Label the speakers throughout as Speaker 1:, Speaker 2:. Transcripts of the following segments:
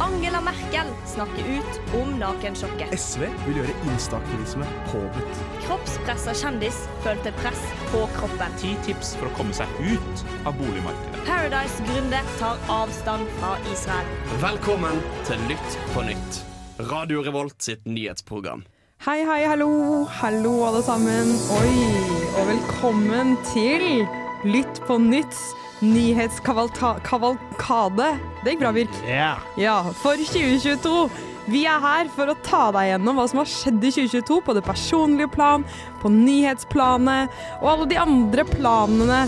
Speaker 1: Angela Merkel snakker ut om nakensjokket.
Speaker 2: SV vil gjøre instaktivisme påbudt.
Speaker 1: Kroppspressa kjendis følte press på kroppen.
Speaker 3: Ti tips for å komme seg ut av boligmarkedet.
Speaker 1: Paradise-gründer tar avstand fra Israel.
Speaker 4: Velkommen til Lytt på nytt. Radio Revolt sitt nyhetsprogram.
Speaker 5: Hei, hei, hallo. Hallo, alle sammen. Oi, og velkommen til Lytt på nytts nyhetskavalkade. Det gikk bra, Birk. Ja, for 2022. Vi er her for å ta deg gjennom hva som har skjedd i 2022 på det personlige plan, på nyhetsplanet og alle de andre planene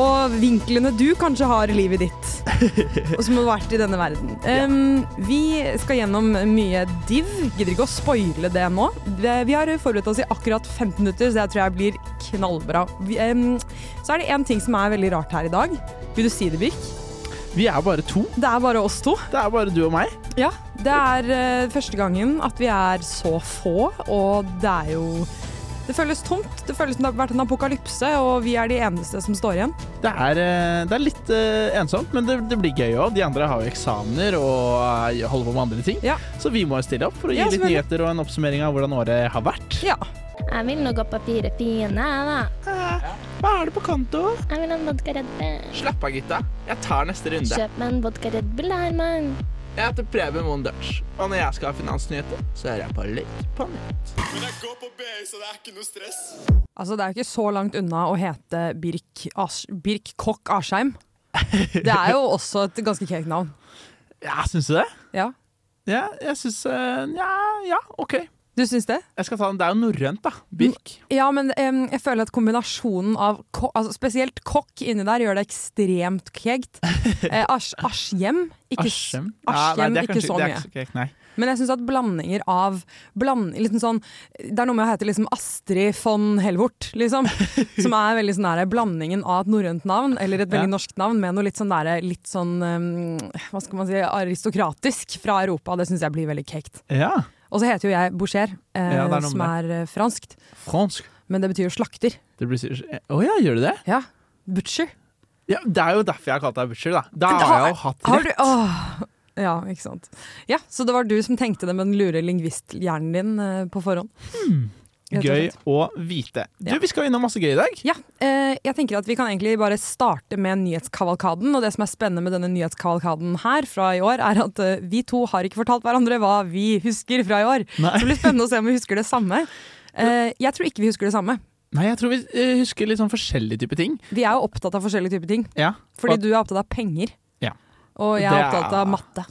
Speaker 5: og vinklene du kanskje har i livet ditt og som har vært i denne verden. Ehm, vi skal gjennom mye div. Gidder ikke å spoile det nå. Det- Vi har forberedt oss i akkurat 15 minutter, så det tror jeg blir knallbra. Vi, ehm, så er det én ting som er veldig rart her i dag. Vil du si det, Birk?
Speaker 2: Vi er bare to.
Speaker 5: Det er bare oss to.
Speaker 2: Det er bare du og meg.
Speaker 5: Ja, det er eh, første gangen at vi er så få, og det er jo det føles tomt. Det føles som det har vært en apokalypse, og vi er de eneste som står igjen.
Speaker 2: Det er, eh, det er litt eh, ensomt, men det, det blir gøy òg. De andre har jo eksamener og eh, holder på med andre ting.
Speaker 5: Ja.
Speaker 2: Så vi må jo stille opp for å gi
Speaker 5: Ja,
Speaker 2: litt
Speaker 5: selvfølgelig.
Speaker 2: nyheter og en oppsummering av hvordan året har vært.
Speaker 5: Ja.
Speaker 6: Jeg vil nok ha papiret fine, jeg da.
Speaker 2: Hva er det på konto?
Speaker 6: Jeg vil ha en vodka Red Bull.
Speaker 7: Slapp av, gutta. Jeg tar neste runde.
Speaker 6: Kjøp meg en vodka Red Bull her, mann.
Speaker 7: Jeg heter Preben Moen Dutch, og når jeg skal ha finansnyheter, så hører jeg på litt på nytt.
Speaker 5: Altså, det er jo ikke så langt unna å hete Birk, Ars Birk Kokk Arsheim. Det er jo også et ganske kjekt navn.
Speaker 2: Ja, syns du det?
Speaker 5: Ja.
Speaker 2: Ja, jeg syns eh, ja, ja, OK.
Speaker 5: Du syns det?
Speaker 2: Jeg skal ta den. Det er jo norrønt, da. Birk.
Speaker 5: Ja, men em, jeg føler at kombinasjonen av ko altså spesielt kokk inni der gjør det ekstremt kjekt. Eh, Ars Arsjem, ikke, s-
Speaker 2: Askim.
Speaker 5: Askim, ikke så
Speaker 2: det
Speaker 5: mye.
Speaker 2: er ikke, ikke- nei.
Speaker 5: Men jeg syns at blandinger av bland, liksom sånn, Det er noe med å hete liksom Astrid von Helvort, liksom. Som er veldig sånn der, blandingen av et norrønt navn eller et veldig
Speaker 2: Ja.
Speaker 5: norsk navn med noe litt sånn, der, litt sånn um, hva skal man si, aristokratisk fra Europa. Det syns jeg blir veldig kekt.
Speaker 2: Ja.
Speaker 5: Og så heter jo jeg Boucher, eh,
Speaker 2: Ja, det er noe
Speaker 5: som
Speaker 2: med
Speaker 5: er eh, franskt.
Speaker 2: Fransk.
Speaker 5: Men det betyr jo slakter.
Speaker 2: Det blir sikkert Å ja, gjør du det?
Speaker 5: Ja. Butcher.
Speaker 2: Ja, det er jo derfor jeg har kalt deg butcher, da. Da
Speaker 5: Da-
Speaker 2: har jeg jo hatt
Speaker 5: Har
Speaker 2: rett.
Speaker 5: du åh. Ja, ikke sant. Ja, Så det var du som tenkte det med den lure lingvisthjernen din eh, på forhånd? Rett og
Speaker 2: Gøy
Speaker 5: slett.
Speaker 2: å vite. Du,
Speaker 5: Ja.
Speaker 2: vi skal innom masse gøy i dag.
Speaker 5: Ja, eh, jeg tenker at vi kan egentlig bare starte med nyhetskavalkaden. Og det som er spennende med denne nyhetskavalkaden her fra i år, er at eh, vi to har ikke fortalt hverandre hva vi husker fra i år.
Speaker 2: Nei.
Speaker 5: Så det blir spennende å se om vi husker det samme. Eh, jeg tror ikke vi husker det samme.
Speaker 2: Nei, jeg tror vi eh, husker litt sånn forskjellige typer ting.
Speaker 5: Vi er jo opptatt av forskjellige typer ting.
Speaker 2: Ja.
Speaker 5: Fordi
Speaker 2: og,
Speaker 5: du er opptatt av penger.
Speaker 2: Ja.
Speaker 5: Og jeg
Speaker 2: Det
Speaker 5: er
Speaker 2: er-
Speaker 5: opptatt av matte.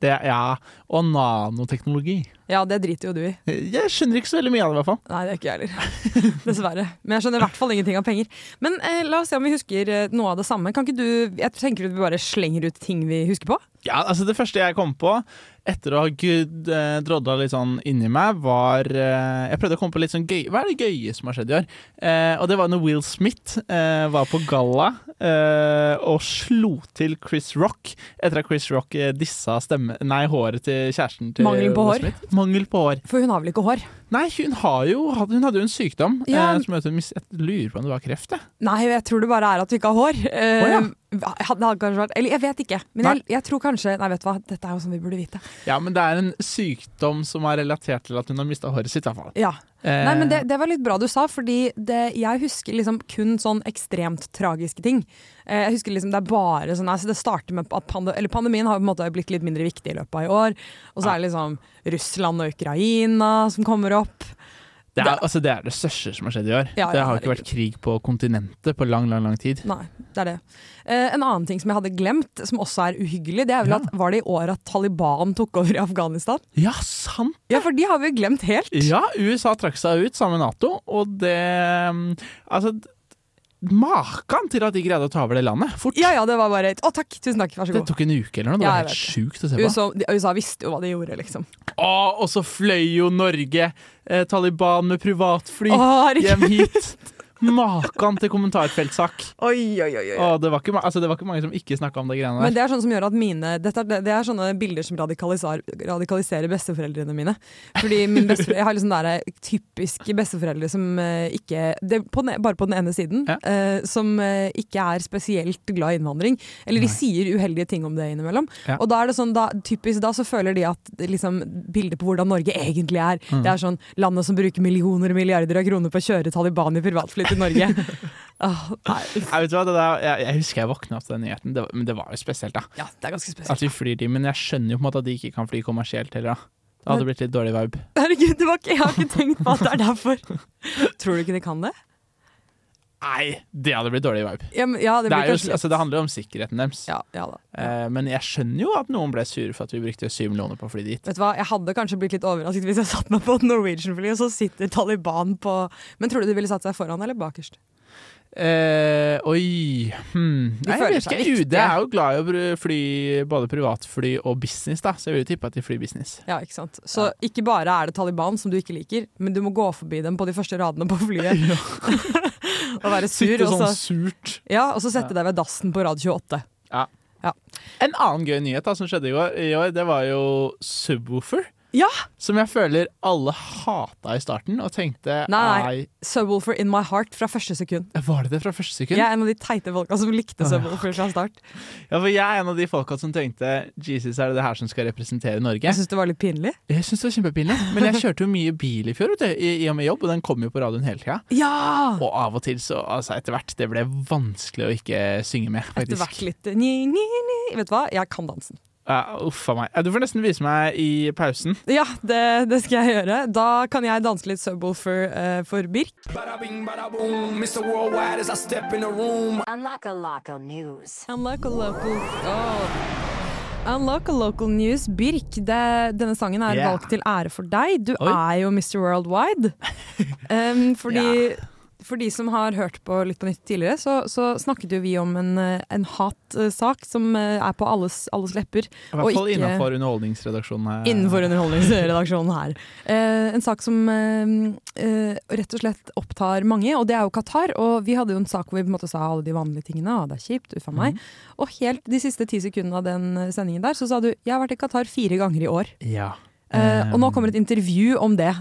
Speaker 2: det, ja, og nanoteknologi.
Speaker 5: Ja, det driter jo du i.
Speaker 2: Jeg skjønner ikke så veldig mye av det, i hvert fall.
Speaker 5: Nei, det er ikke jeg heller. Dessverre. Men jeg skjønner i hvert fall ingenting av penger. Men eh, la oss se om vi husker eh, noe av det samme. Kan ikke du Jeg tenker at vi bare slenger ut ting vi husker på.
Speaker 2: Ja, altså Det første jeg kom på etter å ha gud, eh, drodla litt sånn inni meg, var eh, Jeg prøvde å komme på litt sånn gøy Hva er det gøye som har skjedd i år? Eh, og det var når Will Smith eh, var på galla eh, og slo til Chris Rock etter at Chris Rock eh, dissa stemme... Nei, håret til kjæresten til
Speaker 5: Mangel på hår.
Speaker 2: Will Smith. Mangel på hår.
Speaker 5: For hun har vel ikke hår?
Speaker 2: Nei, hun, har jo, hatt- hun hadde jo en sykdom
Speaker 5: Ja.
Speaker 2: eh, som gjorde at hun mis- Jeg lurer på om det var kreft, jeg.
Speaker 5: Nei, jeg tror det bare er at vi ikke har hår. Eh,
Speaker 2: Å, ja.
Speaker 5: hadde- hadde kanskje vært, eller jeg vet ikke. Men jeg, jeg tror kanskje Nei, vet du hva, dette er jo som vi burde vite.
Speaker 2: Ja, men det er en sykdom som er relatert til at hun har mista håret sitt, i hvert fall.
Speaker 5: Ja.
Speaker 2: Eh,
Speaker 5: Nei, men det, det var litt bra du sa, fordi det, jeg husker liksom kun sånn ekstremt tragiske ting. Eh, jeg husker liksom det er bare sånn altså Det starter med at pande, eller pandemien har på en måte blitt litt mindre viktig i løpet av i år. Og så er det liksom Russland og Ukraina som kommer opp.
Speaker 2: Det er, altså, det er det største som har skjedd i år.
Speaker 5: Ja, ja,
Speaker 2: det har jo ikke
Speaker 5: herregud.
Speaker 2: vært krig på kontinentet på lang, lang lang tid.
Speaker 5: Nei, det er det. Eh, en annen ting som jeg hadde glemt, som også er uhyggelig, det er vel
Speaker 2: Ja.
Speaker 5: at var det i år at Taliban tok over i Afghanistan?
Speaker 2: Ja, sant!
Speaker 5: Ja, for de har vi jo glemt helt.
Speaker 2: Ja, USA trakk seg ut sammen med Nato, og det mm, Altså, d- maken til at de greide å ta over det landet fort!
Speaker 5: Ja, ja, det var bare et Å, takk, tusen takk, vær så
Speaker 2: Det
Speaker 5: god.
Speaker 2: tok en uke eller noe. Det
Speaker 5: Ja,
Speaker 2: var
Speaker 5: jeg
Speaker 2: helt sjukt å se på.
Speaker 5: USA, de- USA visste jo hva de gjorde, liksom.
Speaker 2: Å, og så fløy jo Norge eh, Taliban med privatfly
Speaker 5: Å, herregud.
Speaker 2: hjem hit! Makan til kommentarfeltsak!
Speaker 5: Oi, oi, oi, oi.
Speaker 2: Og det, var ikke, ma- altså, det var ikke mange som ikke snakka om de greiene
Speaker 5: Men
Speaker 2: der.
Speaker 5: det er sånn som gjør at mine dette er, Det er sånne bilder som radikaliser, radikaliserer besteforeldrene mine. Fordi min besteforeldre, Jeg har liksom der typiske besteforeldre som eh, ikke det, er på den, e, Bare på den ene siden.
Speaker 2: Ja.
Speaker 5: eh, som eh, ikke er spesielt glad i innvandring. Eller de sier uheldige ting om det innimellom.
Speaker 2: Ja.
Speaker 5: Og da er det sånn, da, typisk da så føler de at liksom, bildet på hvordan Norge egentlig er
Speaker 2: Mm.
Speaker 5: Det er sånn landet som bruker millioner og milliarder av kroner på å kjøre Taliban i privatfly til Norge. Åh, nei,
Speaker 2: Jeg, vet du hva, det der, jeg, jeg husker jeg våkna opp til den nyheten, det, var- men det var jo spesielt, da.
Speaker 5: ja, det er ganske spesielt.
Speaker 2: At de flyr de, men jeg skjønner jo på en måte at de ikke kan fly kommersielt heller, da. Det hadde blitt litt dårlig vibe.
Speaker 5: Herregud, det var ikke, jeg har ikke tenkt på at det er derfor. Tror du ikke de kan det?
Speaker 2: Nei, det hadde blitt dårlig vibe.
Speaker 5: Ja, men, ja det
Speaker 2: Det,
Speaker 5: blir
Speaker 2: er jo,
Speaker 5: kanskje litt-
Speaker 2: altså, det handler jo om sikkerheten deres.
Speaker 5: ja, ja da.
Speaker 2: Eh, men jeg skjønner jo at noen ble sure for at vi brukte syv millioner på å fly dit.
Speaker 5: Vet du hva, Jeg hadde kanskje blitt litt overrasket hvis jeg satte meg på et Norwegian-fly, og så sitter Taliban på Men tror du de ville satt seg foran eller bakerst?
Speaker 2: Eh, oi hmm.
Speaker 5: De
Speaker 2: Nei, jeg
Speaker 5: føler
Speaker 2: vet
Speaker 5: seg
Speaker 2: ikke. UD
Speaker 5: viktige.
Speaker 2: er jo glad i å bru- fly både privatfly og business, da, så jeg vil jo tippe at de flyr business.
Speaker 5: Ja, ikke sant? Så ikke bare er det Taliban som du ikke liker, men du må gå forbi dem på de første radene på flyet og være sur,
Speaker 2: Sitte
Speaker 5: og så,
Speaker 2: sånn surt.
Speaker 5: ja, og så sette deg ved dassen på rad 28.
Speaker 2: En annen gøy nyhet da som skjedde i går, i år, det var jo subwoofer.
Speaker 5: Ja!
Speaker 2: Som jeg føler alle hata i starten og tenkte
Speaker 5: Nei, Subwoolfer in my heart fra første sekund.
Speaker 2: nei. Var det det fra første sekund?
Speaker 5: Jeg er en av de teite folka som likte Subwoolfer fra start.
Speaker 2: Ja, for jeg er en av de folka som tenkte Jesus, er det det her som skal representere Norge?
Speaker 5: Jeg syns det var litt pinlig.
Speaker 2: Jeg syns det var kjempepinlig, men jeg kjørte jo mye bil i fjor, vet du, i, i og med jobb, og den kom jo på radioen hele tida.
Speaker 5: Ja!
Speaker 2: Og av og til, så altså etter hvert, det ble vanskelig å ikke synge med,
Speaker 5: Etter
Speaker 2: faktisk.
Speaker 5: hvert litt eh, ni, ni, ni. Vet du hva, jeg kan dansen.
Speaker 2: Ja, uff a meg. Ja, Du får nesten vise meg i pausen.
Speaker 5: Ja, det, det skal jeg gjøre. Da kan jeg danse litt subwoolfer eh, for Birk.
Speaker 8: Unlock a local news.
Speaker 5: Unlock a local Unlock a local news, Birk. Det, denne sangen er
Speaker 2: Yeah.
Speaker 5: valgt til ære for deg. Du
Speaker 2: Oi.
Speaker 5: er jo Mr. Worldwide. Um, fordi For de som har hørt på Lytt på nytt tidligere, så, så snakket jo vi om en, eh, en hatsak som eh, er på alles, alles lepper.
Speaker 2: I hvert fall innenfor underholdningsredaksjonen. eh. her.
Speaker 5: Innenfor underholdningsredaksjonen her. Eh, en sak som eh, eh, rett og slett opptar mange, og det er jo Qatar. Og vi hadde jo en sak hvor vi på en måte sa alle de vanlige tingene, og det er kjipt, uff a
Speaker 2: Mhm.
Speaker 5: meg. Og helt de siste ti sekundene av den eh, sendingen der, så sa du 'jeg har vært i Qatar fire ganger i år'.
Speaker 2: Ja.
Speaker 5: Eh, og nå kommer et intervju om det.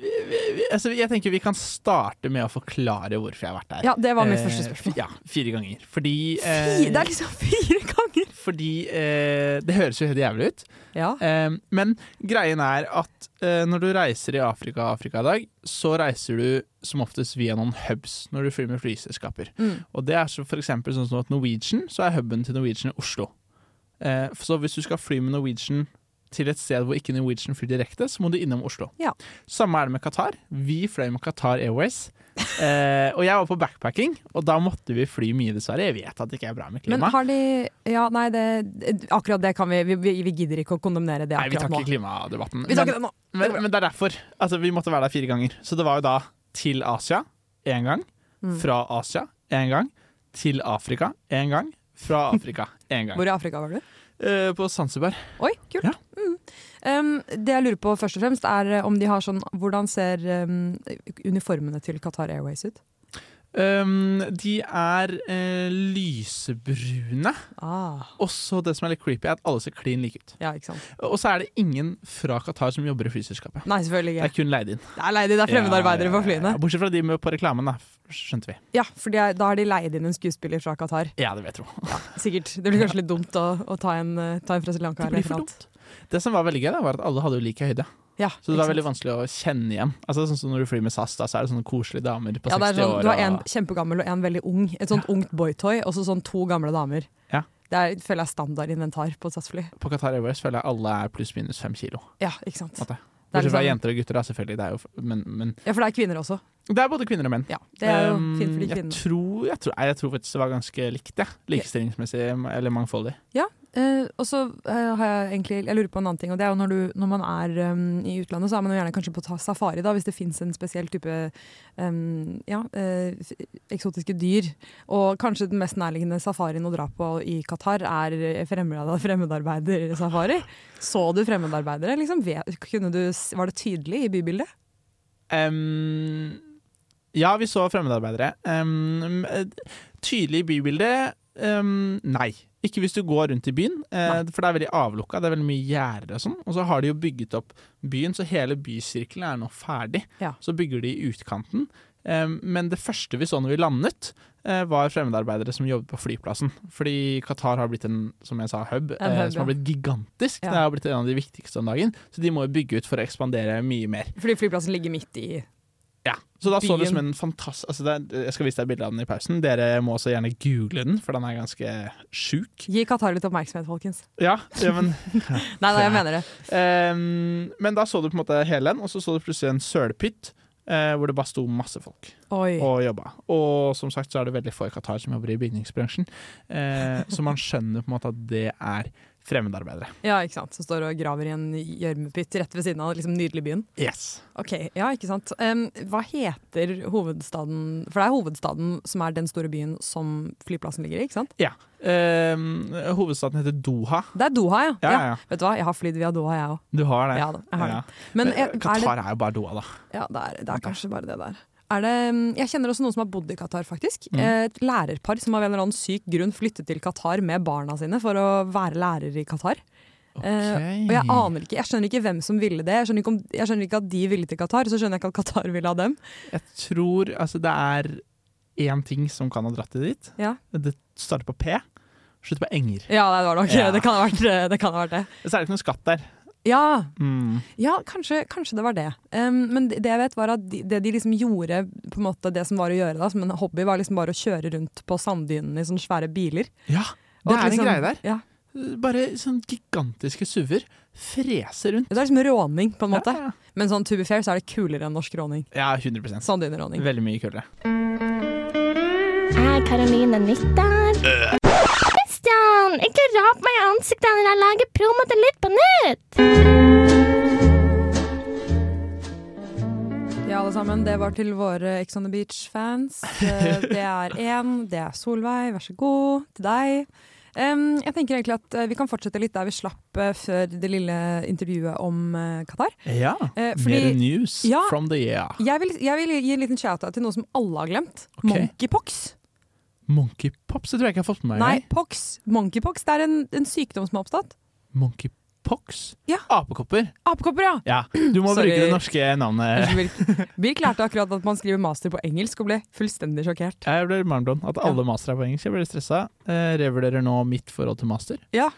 Speaker 2: Vi- Altså, jeg tenker vi kan starte med å forklare hvorfor jeg har vært der.
Speaker 5: Ja, det var mitt
Speaker 2: Eh,
Speaker 5: første spørsmål.
Speaker 2: fi- Ja, fire ganger. Fordi eh,
Speaker 5: Fire, det er liksom fire ganger!
Speaker 2: Fordi eh, Det høres jo helt jævlig ut.
Speaker 5: Ja.
Speaker 2: Eh, men greien er at eh, når du reiser i Afrika Afrika i dag, så reiser du som oftest via noen hubs når du flyr med flyselskaper.
Speaker 5: Mm.
Speaker 2: Og det er så for eksempel sånn som at Norwegian, så er huben til Norwegian i Oslo. Eh, så hvis du skal fly med Norwegian til et sted hvor ikke Norwegian flyr direkte, så må du innom Oslo.
Speaker 5: Ja.
Speaker 2: Samme er det med Qatar. Vi fløy med Qatar Airways. Eh, og jeg var på backpacking, og da måtte vi fly mye, dessverre. Jeg vet at det ikke er bra med
Speaker 5: Men
Speaker 2: klima.
Speaker 5: har de Ja, nei, det, akkurat det kan vi Vi, vi- vi gidder ikke å kondemnere det
Speaker 2: Nei, vi
Speaker 5: akkurat
Speaker 2: tar
Speaker 5: nå.
Speaker 2: ikke klimadebatten.
Speaker 5: Vi tar
Speaker 2: Men-
Speaker 5: ikke det nå.
Speaker 2: Men, men det er derfor. Altså, vi måtte være der fire ganger. Så det var jo da til Asia én gang,
Speaker 5: Mm.
Speaker 2: fra Asia én gang, til Afrika én gang, fra Afrika én gang.
Speaker 5: Hvor i Afrika var du?
Speaker 2: Eh, på Zanzibar.
Speaker 5: Oi, kult.
Speaker 2: Ja.
Speaker 5: Mm. Um, det jeg lurer på først og fremst er eh, om de har sånn Hvordan ser um, uniformene til Qatar Airways ut?
Speaker 2: Um, de er eh, lysebrune.
Speaker 5: Ah,
Speaker 2: Også det som er litt creepy, er at alle ser klin like ut.
Speaker 5: ja, ikke sant.
Speaker 2: Og så er det ingen fra Qatar som jobber i flyselskapet.
Speaker 5: Nei, selvfølgelig
Speaker 2: Det er
Speaker 5: ikke.
Speaker 2: kun leid inn.
Speaker 5: Det er leid, det er fremmedarbeidere på flyene.
Speaker 2: Ja, Bortsett fra de med på reklamen, da. Skjønte vi.
Speaker 5: Ja, for de er, Da har de leid inn en skuespiller fra Qatar.
Speaker 2: Ja, det vet jeg.
Speaker 5: Sikkert. Det blir kanskje litt dumt å, å ta, en, eh, ta en fra Sri Lanka.
Speaker 2: Det blir
Speaker 5: eller
Speaker 2: for
Speaker 5: noe annet.
Speaker 2: Det som var veldig gøy, da, var at alle hadde jo lik høyde.
Speaker 5: Ja,
Speaker 2: Så
Speaker 5: ikke
Speaker 2: det var veldig
Speaker 5: sant?
Speaker 2: vanskelig å kjenne igjen. Altså sånn som Når du flyr med SAS, da, så er det sånne koselige damer på
Speaker 5: Ja, det er
Speaker 2: 60
Speaker 5: sånn,
Speaker 2: år.
Speaker 5: du har en
Speaker 2: og...
Speaker 5: kjempegammel og en veldig ung. Et sånt ungt boytoy og så sånn to gamle damer.
Speaker 2: Ja.
Speaker 5: Det er, føler jeg er standard inventar på SAS-fly.
Speaker 2: På Qatar Airways føler jeg alle er pluss-minus fem kilo.
Speaker 5: Ja, ikke sant? Det
Speaker 2: Måte.
Speaker 5: er
Speaker 2: Bortsett fra
Speaker 5: liksom-
Speaker 2: jenter og gutter, da, selvfølgelig. Det er jo, f- men, men
Speaker 5: Ja, for det er kvinner også.
Speaker 2: det er både kvinner og menn.
Speaker 5: Ja, Det er jo
Speaker 2: Um,
Speaker 5: fint for de
Speaker 2: Jeg
Speaker 5: kvinnene.
Speaker 2: tror, jeg, tror, nei, jeg tror faktisk det var ganske likt, jeg. Likestillingsmessig eller mangfoldig.
Speaker 5: Eh, og så eh, har jeg egentlig Jeg lurer på en annen ting. Og det er jo når, du, når man er em, i utlandet, så er man jo gjerne kanskje på ta- safari, da, hvis det fins en spesiell type em, ja, eh, f- eksotiske dyr. Og kanskje den mest nærliggende safarien å dra på i Qatar er fremmed- fremmedarbeidersafari. Så du fremmedarbeidere? Liksom? Vet- Kunne du, s- var det tydelig i bybildet?
Speaker 2: Um, Ja, vi så fremmedarbeidere. Um, eh, tydelig bybilde um, Nei. Ikke hvis du går rundt i byen, eh, for det er veldig avlukka. Det er veldig mye gjerder og sånn. Og så har de jo bygget opp byen, så hele bysirkelen er nå ferdig.
Speaker 5: Ja.
Speaker 2: Så bygger de i utkanten. Um, men det første vi så når vi landet, eh, var fremmedarbeidere som jobbet på flyplassen. Fordi Qatar har blitt en, som jeg sa, hub,
Speaker 5: En
Speaker 2: eh,
Speaker 5: hub,
Speaker 2: som har
Speaker 5: ja.
Speaker 2: blitt gigantisk.
Speaker 5: Ja.
Speaker 2: Det har blitt en av de viktigste om dagen. Så de må jo bygge ut for å ekspandere mye mer.
Speaker 5: Fordi flyplassen ligger midt i
Speaker 2: Ja, så da
Speaker 5: Byen.
Speaker 2: så du som en fantastisk altså det er, Jeg skal vise deg bilde av den i pausen. Dere må også gjerne google den, for den er ganske sjuk.
Speaker 5: Gi Qatar litt oppmerksomhet, folkens.
Speaker 2: Ja, ja men
Speaker 5: Nei da, jeg mener det.
Speaker 2: ehm, Men da så du på en måte hele den, og så så du plutselig en sølepytt. eh, hvor det bare sto masse folk
Speaker 5: Oi.
Speaker 2: og jobba. Og som sagt så er det veldig få i Qatar som jobber i bygningsbransjen. eh, så man skjønner på en måte at det er fremmedarbeidere.
Speaker 5: Ja, ikke sant. Som står og graver i en gjørmepytt rett ved siden av liksom nydelige byen.
Speaker 2: Yes.
Speaker 5: Ok, ja, ikke sant. Em, hva heter hovedstaden For det er hovedstaden som er den store byen som flyplassen ligger i, ikke sant?
Speaker 2: Ja. Ehm, hovedstaden heter Doha.
Speaker 5: Det er Doha, ja.
Speaker 2: Ja, ja, ja.
Speaker 5: Vet du hva, jeg har flydd via Doha, jeg òg.
Speaker 2: Du har det?
Speaker 5: Ja da, jeg har det.
Speaker 2: Ja.
Speaker 5: Men
Speaker 2: Eh,
Speaker 5: er- er det-
Speaker 2: Qatar er jo bare Doha, da.
Speaker 5: Ja, det er, det er kanskje bare det der. Er det, jeg kjenner også noen som har bodd i Qatar, faktisk.
Speaker 2: Mm.
Speaker 5: Eh, Et lærerpar som av en eller annen syk grunn flyttet til Qatar med barna sine for å være lærer i Qatar. Eh, og jeg aner ikke, jeg skjønner ikke hvem som ville det. Jeg skjønner ikke, om, jeg skjønner ikke at de ville til Qatar, så skjønner jeg ikke at Qatar ville ha dem.
Speaker 2: Jeg tror altså det er én ting som kan ha dratt det dit.
Speaker 5: Ja,
Speaker 2: Det starter på P, slutter på Enger.
Speaker 5: ja det var nok
Speaker 2: Ja.
Speaker 5: det. Kan ha vært, eh, det kan ha vært det.
Speaker 2: Så er det ikke noe skatt der.
Speaker 5: Ja,
Speaker 2: Mm.
Speaker 5: ja kanskje, kanskje det var det. Um, men det jeg vet var at de, det de liksom gjorde, på en måte det som var å gjøre da, som en hobby, var liksom bare å kjøre rundt på sanddynene i sånne svære biler.
Speaker 2: Ja,
Speaker 5: Og
Speaker 2: det er
Speaker 5: liksom-
Speaker 2: en greie der.
Speaker 5: Ja,
Speaker 2: Bare sånn gigantiske suver freser rundt.
Speaker 5: Det er liksom råning, på en måte.
Speaker 2: Ja,
Speaker 5: Men sånn to be fair, så er det kulere enn norsk råning.
Speaker 2: ja. ja 100
Speaker 5: Sanddyneråning.
Speaker 2: Veldig mye kulere.
Speaker 6: Er Karoline nytt der? Christian, ikke rap meg i ansiktet når jeg lager promo til Litt på nytt!
Speaker 5: Ja, alle sammen, det var til våre Ex on the Beach-fans. Eh, Det er én, det er Solveig, vær så god, til deg. Em, jeg tenker egentlig at eh, Vi kan fortsette litt der vi slapp eh, før det lille intervjuet om eh, Qatar.
Speaker 2: Ja.
Speaker 5: Eh,
Speaker 2: Mer
Speaker 5: fordi-
Speaker 2: news
Speaker 5: Ja.
Speaker 2: from the year.
Speaker 5: Jeg vil, jeg vil gi en liten shout-out til noe som alle har glemt.
Speaker 2: Ok.
Speaker 5: Monkeypox.
Speaker 2: Monkey pops, det tror jeg ikke jeg har fått med meg.
Speaker 5: Nei, pox. Monkeypox det er en, en sykdom som har oppstått.
Speaker 2: Monkey pox?
Speaker 5: Ja.
Speaker 2: Apekopper.
Speaker 5: Apekopper, ja!
Speaker 2: Ja. Du må
Speaker 5: Sorry.
Speaker 2: bruke det norske navnet.
Speaker 5: Unnskyld, Birk. Birk lærte akkurat at man skriver master på engelsk og ble fullstendig sjokkert.
Speaker 2: Jeg ble marmblond. At alle master er på engelsk. Jeg ble stressa. Eh, revurderer nå mitt forhold til master.
Speaker 5: Ja,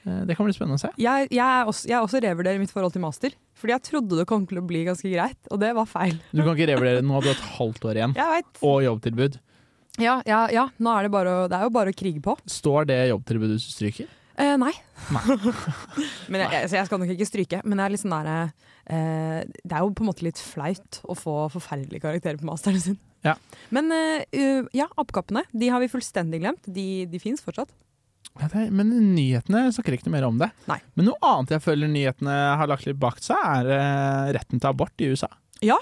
Speaker 2: Eh, Det kan bli spennende å se.
Speaker 5: jeg, jeg, er også, jeg er også revurderer mitt forhold til master. Fordi jeg trodde det kom til å bli ganske greit, og det var feil.
Speaker 2: Du kan ikke revurdere. Nå har du et halvt år igjen.
Speaker 5: Jeg vet.
Speaker 2: Og jobbtilbud.
Speaker 5: Ja, ja, ja. Nå er det, bare å, det er jo bare å krige på.
Speaker 2: Står det jobbtilbudet du stryker?
Speaker 5: Eh, nei.
Speaker 2: Nei.
Speaker 5: men jeg, jeg, så jeg skal nok ikke stryke. Men jeg er litt sånn der, eh, det er jo på en måte litt flaut å få forferdelige karakterer på masteren sin.
Speaker 2: Ja.
Speaker 5: Men eh, uh, ja, apekappene de har vi fullstendig glemt. De, de fins fortsatt.
Speaker 2: Ja, det er, men nyhetene snakker ikke noe mer om det.
Speaker 5: Nei.
Speaker 2: Men noe annet jeg føler nyhetene har lagt litt bak seg, er eh, retten til abort i USA.
Speaker 5: Ja.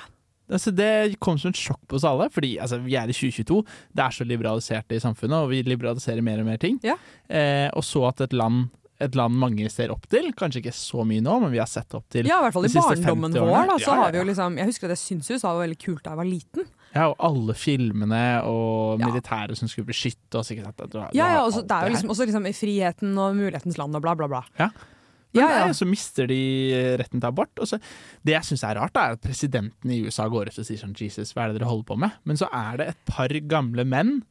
Speaker 2: Altså, det kom som et sjokk på oss alle, fordi altså, vi er i 2022. Det er så liberalisert i samfunnet, og vi liberaliserer mer og mer ting.
Speaker 5: Ja.
Speaker 2: Eh, og så at et land, et land mange ser opp til, kanskje ikke så mye nå, men vi har sett opp til
Speaker 5: ja, i hvert fall i
Speaker 2: de siste
Speaker 5: barndommen
Speaker 2: 50
Speaker 5: vår.
Speaker 2: årene.
Speaker 5: Da,
Speaker 2: Ja,
Speaker 5: så
Speaker 2: ja,
Speaker 5: har vi jo liksom, jeg husker at jeg syntes USA var veldig kult da jeg var liten.
Speaker 2: Ja, og alle filmene og
Speaker 5: Ja.
Speaker 2: militære som skulle beskytte oss. Ikke sant? Du har- du
Speaker 5: Ja, ja,
Speaker 2: har
Speaker 5: også,
Speaker 2: alt
Speaker 5: det er jo
Speaker 2: her.
Speaker 5: liksom, også liksom i friheten og mulighetens land og bla, bla, bla.
Speaker 2: Ja. Men
Speaker 5: Ja,
Speaker 2: nei,
Speaker 5: ja.
Speaker 2: så mister de eh, retten til abort. Og så, det jeg syns er rart, er at presidenten i USA går ut og sier sånn Jesus, hva er det dere holder på med? Men så er det et par gamle menn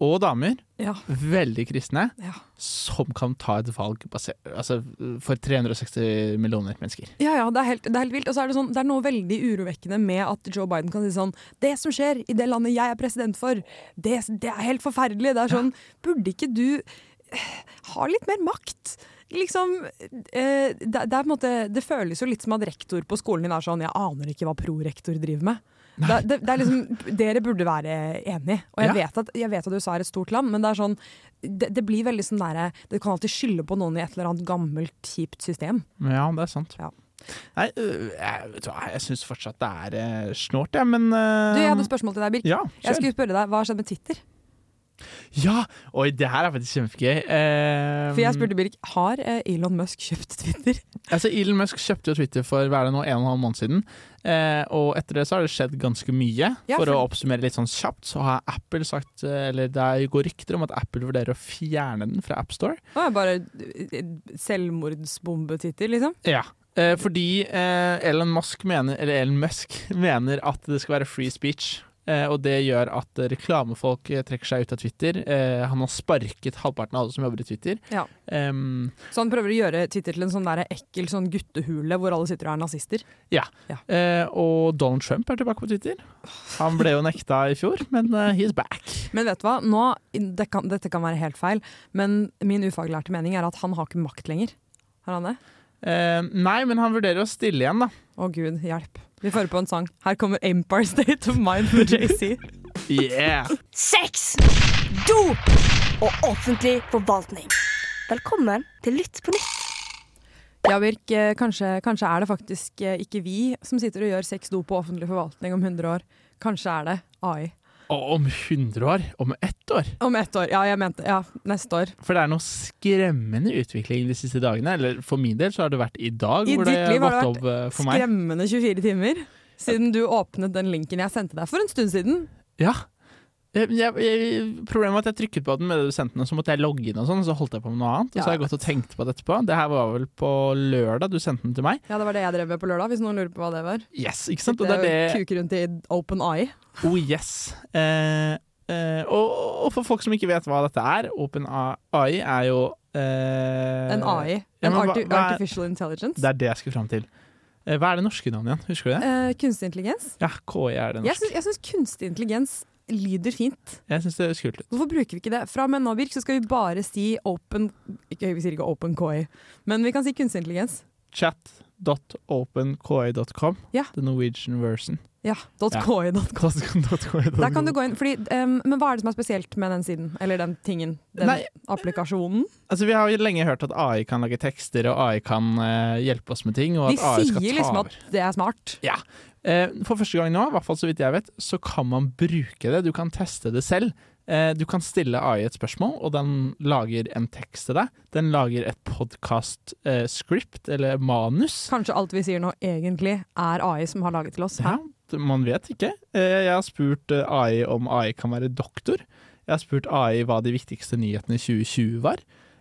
Speaker 2: og damer,
Speaker 5: Ja,
Speaker 2: veldig kristne,
Speaker 5: ja.
Speaker 2: som kan ta et valg baser, altså, for 360 millioner mennesker.
Speaker 5: ja, ja det, er helt, det er helt vilt. Og så er det, sånn, det er noe veldig urovekkende med at Joe Biden kan si sånn Det som skjer i det landet jeg er president for, det, det er helt forferdelig. Det er sånn Burde ikke du eh, ha litt mer makt? Liksom, eh, det, det, er på en måte, det føles jo litt som at rektor på skolen din er sånn Jeg aner ikke hva prorektor driver med. Det, det, det er liksom, dere burde være enige. Og jeg,
Speaker 2: Ja.
Speaker 5: vet at, jeg vet at USA er et stort land, men det er sånn Det, det blir veldig sånn derre Du kan alltid skylde på noen i et eller annet gammelt, kjipt system.
Speaker 2: Men Ja, det er sant.
Speaker 5: Ja.
Speaker 2: Nei, øh, jeg, vet du hva, jeg syns fortsatt det er eh, snålt, jeg, men
Speaker 5: Du, jeg
Speaker 2: eh,
Speaker 5: hadde et spørsmål til deg, Birk.
Speaker 2: Ja,
Speaker 5: jeg
Speaker 2: kjør.
Speaker 5: skulle spørre deg, Hva har skjedd med Twitter?
Speaker 2: Ja! Oi, det her er faktisk kjempegøy. Eh,
Speaker 5: For jeg spurte Birk har eh, Elon Musk kjøpt Twitter.
Speaker 2: Altså, Elon Musk kjøpte jo Twitter for hva er det nå, en og en halv måned siden. Eh, og etter det så har det skjedd ganske mye.
Speaker 5: Ja,
Speaker 2: for
Speaker 5: for-
Speaker 2: å oppsummere litt sånn kjapt, så har Apple sagt eh, Eller det er- går rykter om at Apple vurderer å fjerne den fra AppStore.
Speaker 5: Det er bare eh, selvmordsbombetittel, liksom.
Speaker 2: Ja. Eh, fordi eh, Elon Musk mener Eller Elon Musk mener at det skal være free speech. Eh, og det gjør at eh, reklamefolk eh, trekker seg ut av Twitter. Eh, han har sparket halvparten av alle som jobber i Twitter.
Speaker 5: Ja.
Speaker 2: Ehm,
Speaker 5: Så han prøver å gjøre Twitter til en sånn der ekkel sånn guttehule hvor alle sitter og er nazister.
Speaker 2: Eh, og Donald Trump er tilbake på Twitter. Han ble jo nekta i fjor, men eh, he's back.
Speaker 5: Men vet du hva? Nå, det kan, dette kan være helt feil, men min ufaglærte mening er at han har ikke makt lenger. Har han det?
Speaker 2: Eh, nei, men han vurderer å stille igjen, da.
Speaker 5: Å gud, hjelp. Vi får på en sang. Her kommer Empire State of Mind med JC.
Speaker 2: Yeah!
Speaker 9: Sex, dop og offentlig forvaltning. Velkommen til Lytt på nytt.
Speaker 5: Ja, Birk, eh, kanskje, kanskje er det faktisk eh, ikke vi som sitter og gjør sex dop på offentlig forvaltning om 100 år. Kanskje er det AI.
Speaker 2: Og om 100 år, om ett år
Speaker 5: Om ett år. Ja, jeg mente Ja, neste år.
Speaker 2: For det er noe skremmende utvikling de siste dagene. Eller for min del så har det vært i dag
Speaker 5: I
Speaker 2: hvor det
Speaker 5: ditt liv har
Speaker 2: gått
Speaker 5: det
Speaker 2: opp eh, for meg.
Speaker 5: Skremmende 24 timer siden du åpnet den linken jeg sendte deg for en stund siden.
Speaker 2: Ja. Eh, Jeg, jeg, problemet var at jeg trykket på den med det du sendte, den, og så måtte jeg logge inn, og sånn, og så holdt jeg på med noe annet. Og
Speaker 5: Ja,
Speaker 2: så har jeg
Speaker 5: jeg
Speaker 2: gått og tenkt på det etterpå. Det her var vel på lørdag du sendte den til meg.
Speaker 5: Ja, det var det jeg drev med på lørdag, hvis noen lurer på hva det var.
Speaker 2: Yes, ikke sant? Og
Speaker 5: Det
Speaker 2: det
Speaker 5: er
Speaker 2: er det
Speaker 5: jo kuker rundt i open eye.
Speaker 2: Oh yes. Eh, eh, og, og for folk som ikke vet hva dette er, Open AI er jo eh,
Speaker 5: En AI. En
Speaker 2: ja, men hva-
Speaker 5: arti
Speaker 2: hva er-
Speaker 5: artificial intelligence.
Speaker 2: Det er det jeg skulle fram til. Eh, hva er det norske navnet igjen? Husker du det?
Speaker 5: Eh, kunstig intelligens.
Speaker 2: Ja, KI er det
Speaker 5: Jeg
Speaker 2: norske.
Speaker 5: syns, jeg syns kunstig intelligens lyder fint.
Speaker 2: Jeg syns det høres kult ut.
Speaker 5: Hvorfor bruker vi ikke det? Fra og med nå, Birk, så skal vi bare si open ikke, Vi sier ikke open KI, men vi kan si kunstig intelligens.
Speaker 2: Chat.openki.com.
Speaker 5: Ja.
Speaker 2: The Norwegian version.
Speaker 5: Ja, .ki. Der kan du gå inn, fordi, em, Men hva er det som er spesielt med den siden? Eller den tingen? Den
Speaker 2: Nei.
Speaker 5: applikasjonen?
Speaker 2: Altså, vi har jo lenge hørt at AI kan lage tekster, og AI kan eh, hjelpe oss med ting. Og
Speaker 5: De
Speaker 2: at AI skal ta
Speaker 5: sier liksom
Speaker 2: over.
Speaker 5: at det er smart.
Speaker 2: Eh, For første gang nå, i hvert fall så vidt jeg vet, så kan man bruke det. Du kan teste det selv. Eh, Du kan stille AI et spørsmål, og den lager en tekst til deg. Den lager et podkast-script, eller manus.
Speaker 5: Kanskje alt vi sier nå egentlig er AI som har laget til oss.
Speaker 2: Ja, det- man vet ikke. Eh, Jeg har spurt eh, AI om AI kan være doktor. Jeg har spurt AI hva de viktigste nyhetene i 2020 var.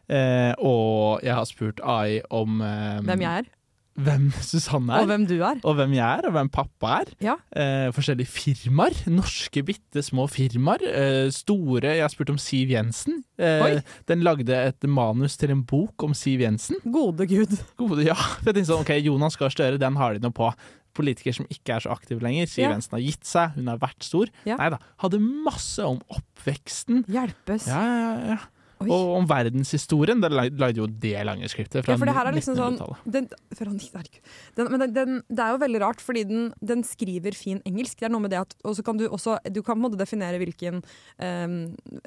Speaker 2: Eh, og jeg har spurt AI om eh,
Speaker 5: Hvem jeg er,
Speaker 2: hvem Susanne er.
Speaker 5: og hvem du er.
Speaker 2: og hvem jeg er, og hvem pappa er.
Speaker 5: Ja.
Speaker 2: Eh, forskjellige firmaer. Norske bitte små firmaer. Eh, store Jeg har spurt om Siv Jensen. Eh,
Speaker 5: Oi.
Speaker 2: den lagde et manus til en bok om Siv Jensen.
Speaker 5: Gode gud.
Speaker 2: Gode, ja. For Jeg tenkte sånn, ok, Jonas Gahr Støre, den har de noe på. Politiker som ikke er så aktiv lenger. Siv
Speaker 5: Ja.
Speaker 2: Jensen har gitt seg, hun har vært stor.
Speaker 5: Ja.
Speaker 2: Nei da. Hadde masse om oppveksten.
Speaker 5: Hjelpes.
Speaker 2: Ja, ja, ja.
Speaker 5: Oi.
Speaker 2: Og om verdenshistorien. Der lag- lagde jo det lange skriptet fra
Speaker 5: Ja, for det her er liksom sånn
Speaker 2: 1900-tallet.
Speaker 5: den, for han, herregud. den, men den, den, Det er jo veldig rart, fordi den, den skriver fin engelsk. Det er noe med det at Og så kan du også Du kan på en måte definere hvilken ehm,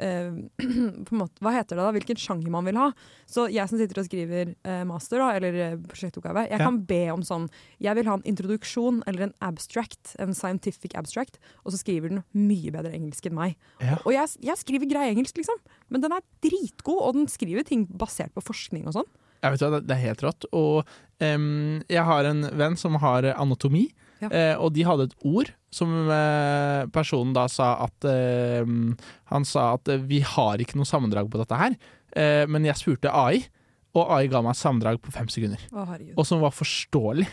Speaker 5: ehm, på en måte, Hva heter det da? Hvilken sjanger man vil ha. Så jeg som sitter og skriver eh, master, da, eller eh, prosjektoppgave, jeg
Speaker 2: Ja.
Speaker 5: kan be om sånn Jeg vil ha en introduksjon eller en abstract, en scientific abstract, og så skriver den mye bedre engelsk enn meg.
Speaker 2: Ja.
Speaker 5: Og jeg, jeg skriver grei engelsk, liksom, men den er dritgod, og den skriver ting basert på forskning og sånn.
Speaker 2: Jeg vet hva, det- Det er helt rått. Og em, jeg har en venn som har anatomi,
Speaker 5: Ja.
Speaker 2: eh, og de hadde et ord som eh, personen da sa at em, Han sa at eh, vi har ikke noe sammendrag på dette her, eh, men jeg spurte AI, og AI ga meg sammendrag på fem sekunder.
Speaker 5: Å, herregud.
Speaker 2: Og som var forståelig.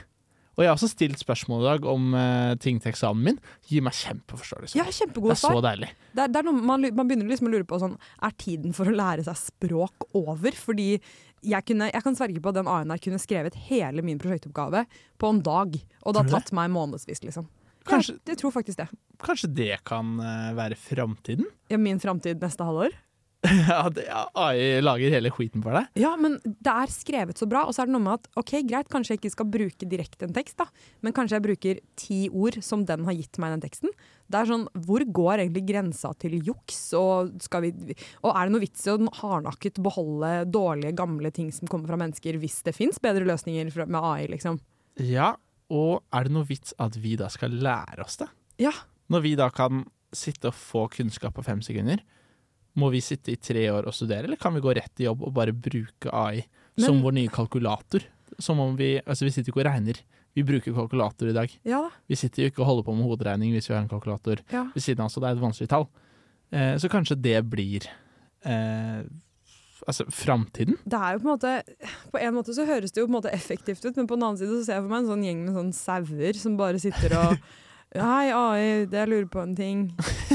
Speaker 2: Og jeg har også stilt spørsmål i dag om eh, ting til eksamen min. Gir meg kjempeforståelse.
Speaker 5: Ja,
Speaker 2: det
Speaker 5: kjempegode
Speaker 2: er så
Speaker 5: svar.
Speaker 2: deilig.
Speaker 5: Det er, det er noe, man, lu- man begynner liksom å lure på sånn, er tiden for å lære seg språk over? Fordi jeg, kunne, jeg kan sverge på at den ANR kunne skrevet hele min prosjektoppgave på en dag. Og det
Speaker 2: Tror
Speaker 5: har
Speaker 2: du det?
Speaker 5: tatt meg månedsvis, liksom.
Speaker 2: Kanskje,
Speaker 5: Jeg, jeg tror faktisk det.
Speaker 2: kanskje det kan eh, være framtiden?
Speaker 5: Ja, min framtid neste halvår.
Speaker 2: At AI lager hele skiten for deg?
Speaker 5: Ja, men det er skrevet så bra. Og så er det noe med at ok, greit, kanskje jeg ikke skal bruke direkte en tekst, da. Men kanskje jeg bruker ti ord som den har gitt meg den teksten. Det er sånn, hvor går egentlig grensa til juks? Og, skal vi, og er det noe vits i å hardnakket beholde dårlige, gamle ting som kommer fra mennesker, hvis det fins bedre løsninger fra- med AI, liksom?
Speaker 2: Ja, og er det noe vits at vi da skal lære oss det?
Speaker 5: Ja.
Speaker 2: Når vi da kan sitte og få kunnskap på fem sekunder, Må vi sitte i tre år og studere, eller kan vi gå rett i jobb og bare bruke AI som
Speaker 5: Men-
Speaker 2: vår nye kalkulator? Som om vi Altså, vi sitter ikke og regner. Vi bruker kalkulator i dag.
Speaker 5: Ja da.
Speaker 2: Vi sitter jo ikke og holder på med hoderegning hvis vi har en kalkulator
Speaker 5: Ja.
Speaker 2: ved siden av oss, og det er et vanskelig tall. Eh, så kanskje det blir eh, Altså, framtiden?
Speaker 5: Det er jo på en måte På en måte så høres det jo på en måte effektivt ut, men på den annen side så ser jeg for meg en sånn gjeng med sånn sauer som bare sitter og Hei, AI, det jeg lurer på en ting.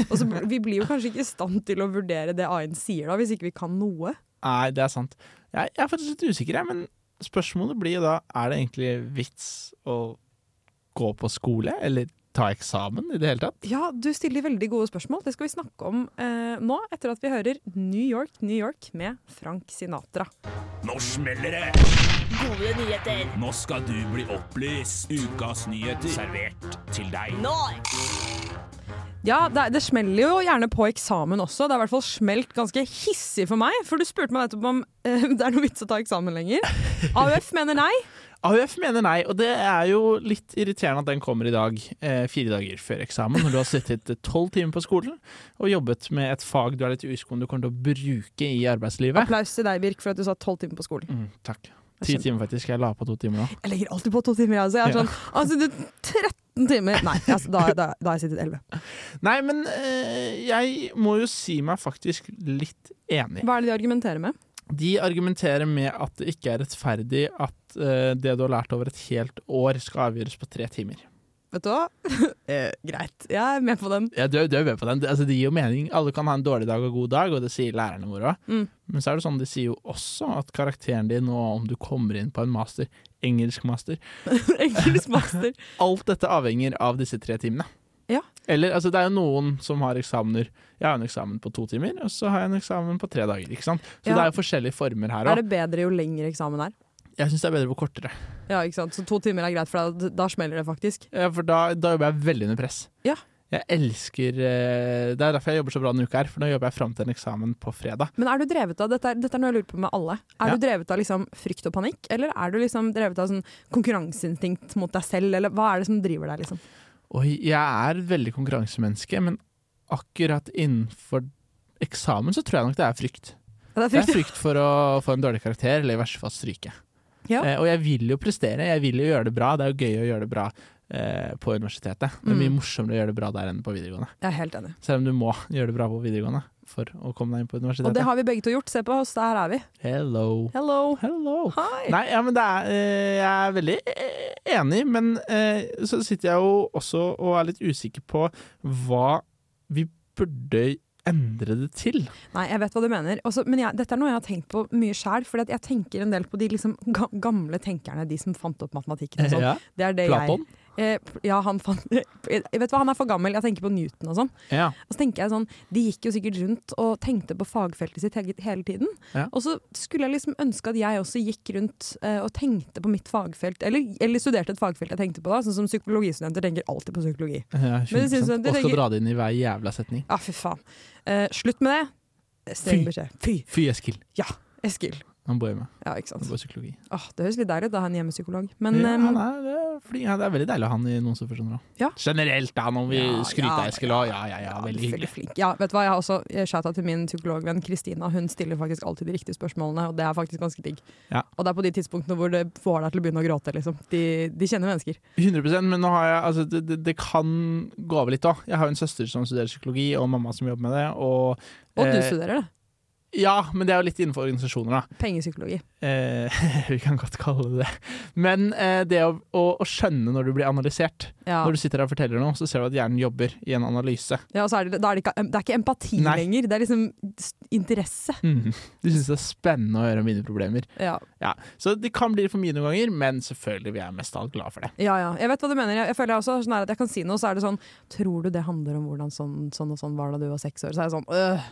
Speaker 5: Og så, bl- vi blir jo kanskje ikke i stand til å vurdere det AI-en sier, da, hvis ikke vi kan noe.
Speaker 2: Nei, det er sant. Jeg, jeg er faktisk litt usikker, jeg, men spørsmålet blir jo da er det egentlig vits å gå på skole, eller ta eksamen i det hele tatt?
Speaker 5: Ja, du stiller veldig gode spørsmål. Det skal vi snakke om eh, nå, etter at vi hører New York, New York med Frank Sinatra.
Speaker 3: Nå smeller det!
Speaker 8: Gode nyheter.
Speaker 3: Nå skal du bli opplyst. Ukas nyheter servert til deg.
Speaker 8: Nå!
Speaker 5: Ja, det, det smeller jo gjerne på eksamen også. Det har i hvert fall smelt ganske hissig for meg. For du spurte meg nettopp om eh, det er noe vits å ta eksamen lenger. AUF mener nei.
Speaker 2: AUF mener nei, og det er jo litt irriterende at den kommer i dag, eh, fire dager før eksamen, når du har sittet tolv timer på skolen og jobbet med et fag du er litt usikker på om du kommer til å bruke i arbeidslivet.
Speaker 5: Applaus til deg, Birk, for at du satt tolv timer på skolen.
Speaker 2: Mm, takk. Ti timer, faktisk. Jeg la på to timer nå.
Speaker 5: Jeg legger alltid på to timer, jeg også. Jeg er
Speaker 2: Ja.
Speaker 5: sånn, altså, du, 13 timer! Nei, altså, da, da, da har jeg sittet 11.
Speaker 2: Nei, men eh, jeg må jo si meg faktisk litt enig.
Speaker 5: Hva er det de argumenterer med?
Speaker 2: De argumenterer med at det ikke er rettferdig at eh, det du har lært over et helt år, skal avgjøres på tre timer.
Speaker 5: Vet du hva? Eh, greit, jeg er med på den.
Speaker 2: Ja, du, er- du er med på den. Det, altså, det gir jo mening. Alle kan ha en dårlig dag og god dag, og det sier lærerne våre òg.
Speaker 5: Mm.
Speaker 2: Men så er det sånn, de sier jo også at karakteren din, og om du kommer inn på en master, engelsk master
Speaker 5: Engelsk master.
Speaker 2: Alt dette avhenger av disse tre timene.
Speaker 5: Ja.
Speaker 2: Eller, altså, det er jo noen som har eksamener Jeg har en eksamen på to timer, og så har jeg en eksamen på tre dager. ikke sant? Så
Speaker 5: Ja.
Speaker 2: det er jo forskjellige former her
Speaker 5: Er
Speaker 2: òg.
Speaker 5: det bedre jo lengre eksamen er?
Speaker 2: Jeg syns det er bedre på kortere.
Speaker 5: Ja, ikke sant? Så to timer er greit, for da, da smeller det faktisk.
Speaker 2: Ja, for da, da jobber jeg veldig under press.
Speaker 5: Ja.
Speaker 2: Jeg elsker eh, Det er derfor jeg jobber så bra denne uka her, for nå jobber jeg fram til en eksamen på fredag.
Speaker 5: Men er du drevet av dette er, dette er noe jeg lurer på med alle. Er
Speaker 2: Ja.
Speaker 5: du drevet av liksom frykt og panikk, eller er du liksom drevet av sånn konkurranseinstinkt mot deg selv, eller hva er det som driver deg? liksom?
Speaker 2: Oi, jeg er et veldig konkurransemenneske, men akkurat innenfor eksamen så tror jeg nok det er frykt.
Speaker 5: Ja, Det er
Speaker 2: Det
Speaker 5: frykt.
Speaker 2: er frykt for å få en dårlig karakter, eller i verste fall stryke.
Speaker 5: Ja.
Speaker 2: Eh, og jeg vil jo prestere, jeg vil jo gjøre det bra. Det er jo gøy å gjøre det bra eh, på universitetet. Det er mye
Speaker 5: Mm.
Speaker 2: morsommere å gjøre det bra der enn på videregående.
Speaker 5: Jeg er helt enig.
Speaker 2: Selv om du må gjøre det bra på videregående for å komme deg inn på
Speaker 5: Og
Speaker 2: universitetet.
Speaker 5: det har vi begge to gjort. Se på oss, der er vi.
Speaker 2: Hello.
Speaker 5: Hello.
Speaker 2: Hello.
Speaker 5: Hi.
Speaker 2: Nei, ja, men det er, eh, jeg er veldig eh, enig, men eh, så sitter jeg jo også og er litt usikker på hva vi burde endre det til.
Speaker 5: Nei, jeg vet hva du mener. Også, men jeg, dette er noe jeg har tenkt på mye sjæl. For jeg tenker en del på de liksom, ga gamle tenkerne, de som fant opp matematikken. Og sånn.
Speaker 2: Ja.
Speaker 5: det er det jeg,
Speaker 2: Platon?
Speaker 5: eh, ja, han fant jeg Vet hva, han er for gammel. Jeg tenker på Newton og sånn.
Speaker 2: Ja.
Speaker 5: Og så tenker jeg sånn, De gikk jo sikkert rundt og tenkte på fagfeltet sitt he- hele tiden.
Speaker 2: Ja.
Speaker 5: Og så skulle jeg liksom ønske at jeg også gikk rundt eh, og tenkte på mitt fagfelt, eller, eller studerte et fagfelt jeg tenkte på da, sånn som psykologistudenter tenker alltid på psykologi.
Speaker 2: ja
Speaker 5: synes jeg
Speaker 2: 100%.
Speaker 5: det
Speaker 2: Og
Speaker 5: tenker-
Speaker 2: skal dra det inn i hver jævla setning.
Speaker 5: Ja, fy faen. Eh, slutt med det. Streng
Speaker 2: Fy.
Speaker 5: beskjed. Fy!
Speaker 2: Fy Eskil.
Speaker 5: Eskil.
Speaker 2: Han bor hjemme.
Speaker 5: Ja, ikke sant.
Speaker 2: Han bor i psykologi.
Speaker 5: Åh, det høres litt deilig ut, da, han hjemmepsykolog. Men
Speaker 2: ja,
Speaker 5: ehm,
Speaker 2: han er, det, er fordi, ja, det er veldig deilig å ha han i noen som forstår det.
Speaker 5: Ja.
Speaker 2: Generelt, da, når vi
Speaker 5: Ja,
Speaker 2: skryter
Speaker 5: ja,
Speaker 2: av Eskil òg. Ja, ja, ja. Veldig hyggelig.
Speaker 5: flink. Ja, vet du hva, jeg har også eh, shouta til min psykologvenn Kristina. Hun stiller faktisk alltid de riktige spørsmålene, og det er faktisk ganske digg.
Speaker 2: Ja.
Speaker 5: Og det er på de tidspunktene hvor det får deg til å begynne å gråte, liksom. De, de kjenner mennesker.
Speaker 2: 100 men nå har jeg, altså, det, det, det kan gå over litt òg. Jeg har jo en søster som studerer psykologi, og mamma som jobber med det. Og,
Speaker 5: Og du
Speaker 2: eh,
Speaker 5: studerer det.
Speaker 2: Ja, men det er jo litt innenfor organisasjoner, da.
Speaker 5: Pengepsykologi.
Speaker 2: Eh, vi kan godt kalle det det. Men eh, det å, å, å skjønne når du blir analysert.
Speaker 5: Ja.
Speaker 2: Når du sitter her og forteller noe, så ser du at hjernen jobber i en analyse.
Speaker 5: Ja, og så er det, da er det, ikke, det er ikke empati
Speaker 2: Nei.
Speaker 5: lenger, det er liksom s- interesse.
Speaker 2: Mm. Du syns det er spennende å høre om mine problemer.
Speaker 5: Ja.
Speaker 2: Ja. Så det kan bli for mye noen ganger, men selvfølgelig vi er mest av alt glad for det.
Speaker 5: ja, ja. Jeg vet hva du mener. Jeg, jeg føler jeg også sånn her at jeg kan si noe, så er det sånn Tror du det handler om hvordan sånn, sånn og sånn var da du var seks år? Så er jeg sånn øh,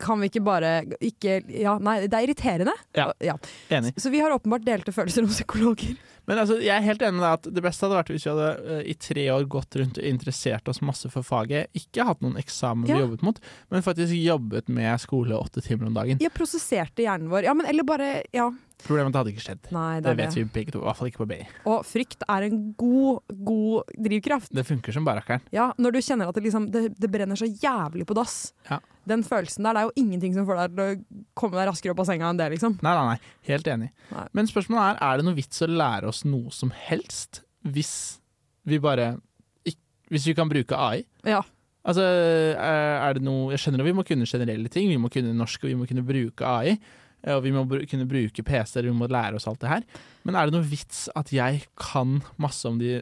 Speaker 5: Kan vi ikke bare ikke Ja, nei, det er irriterende.
Speaker 2: Ja. Enig.
Speaker 5: Så vi har åpenbart delte følelser om psykologer.
Speaker 2: Men altså, jeg er helt enig med deg at det beste hadde vært hvis vi hadde eh, i tre år gått rundt og interessert oss masse for faget, ikke hatt noen eksamen
Speaker 5: Ja.
Speaker 2: vi jobbet mot, men faktisk jobbet med skole åtte timer om dagen.
Speaker 5: Jeg prosesserte hjernen vår. Ja, men eller bare Ja,
Speaker 2: Problemet er at det hadde ikke skjedd.
Speaker 5: Nei,
Speaker 2: Det
Speaker 5: det er
Speaker 2: vet
Speaker 5: det.
Speaker 2: vi begge to, i hvert fall ikke på BI.
Speaker 5: Og frykt er en god, god drivkraft.
Speaker 2: Det funker som barrakkeren.
Speaker 5: Ja, når du kjenner at det, liksom, det, det brenner så jævlig på dass.
Speaker 2: Ja.
Speaker 5: Den følelsen der, det er jo ingenting som får deg til å komme deg raskere opp av senga enn det, liksom.
Speaker 2: Nei, nei, nei. Helt enig.
Speaker 5: Nei.
Speaker 2: Men spørsmålet er er det noe vits å lære oss noe som helst hvis vi bare ikk- Hvis vi kan bruke AI?
Speaker 5: Ja.
Speaker 2: Altså, er er det noe Jeg skjønner at vi må kunne generelle ting. Vi må kunne norsk, og vi må kunne bruke AI. eh, Og vi må bru- kunne bruke PC-er, vi må lære oss alt det her. Men er det noe vits at jeg kan masse om de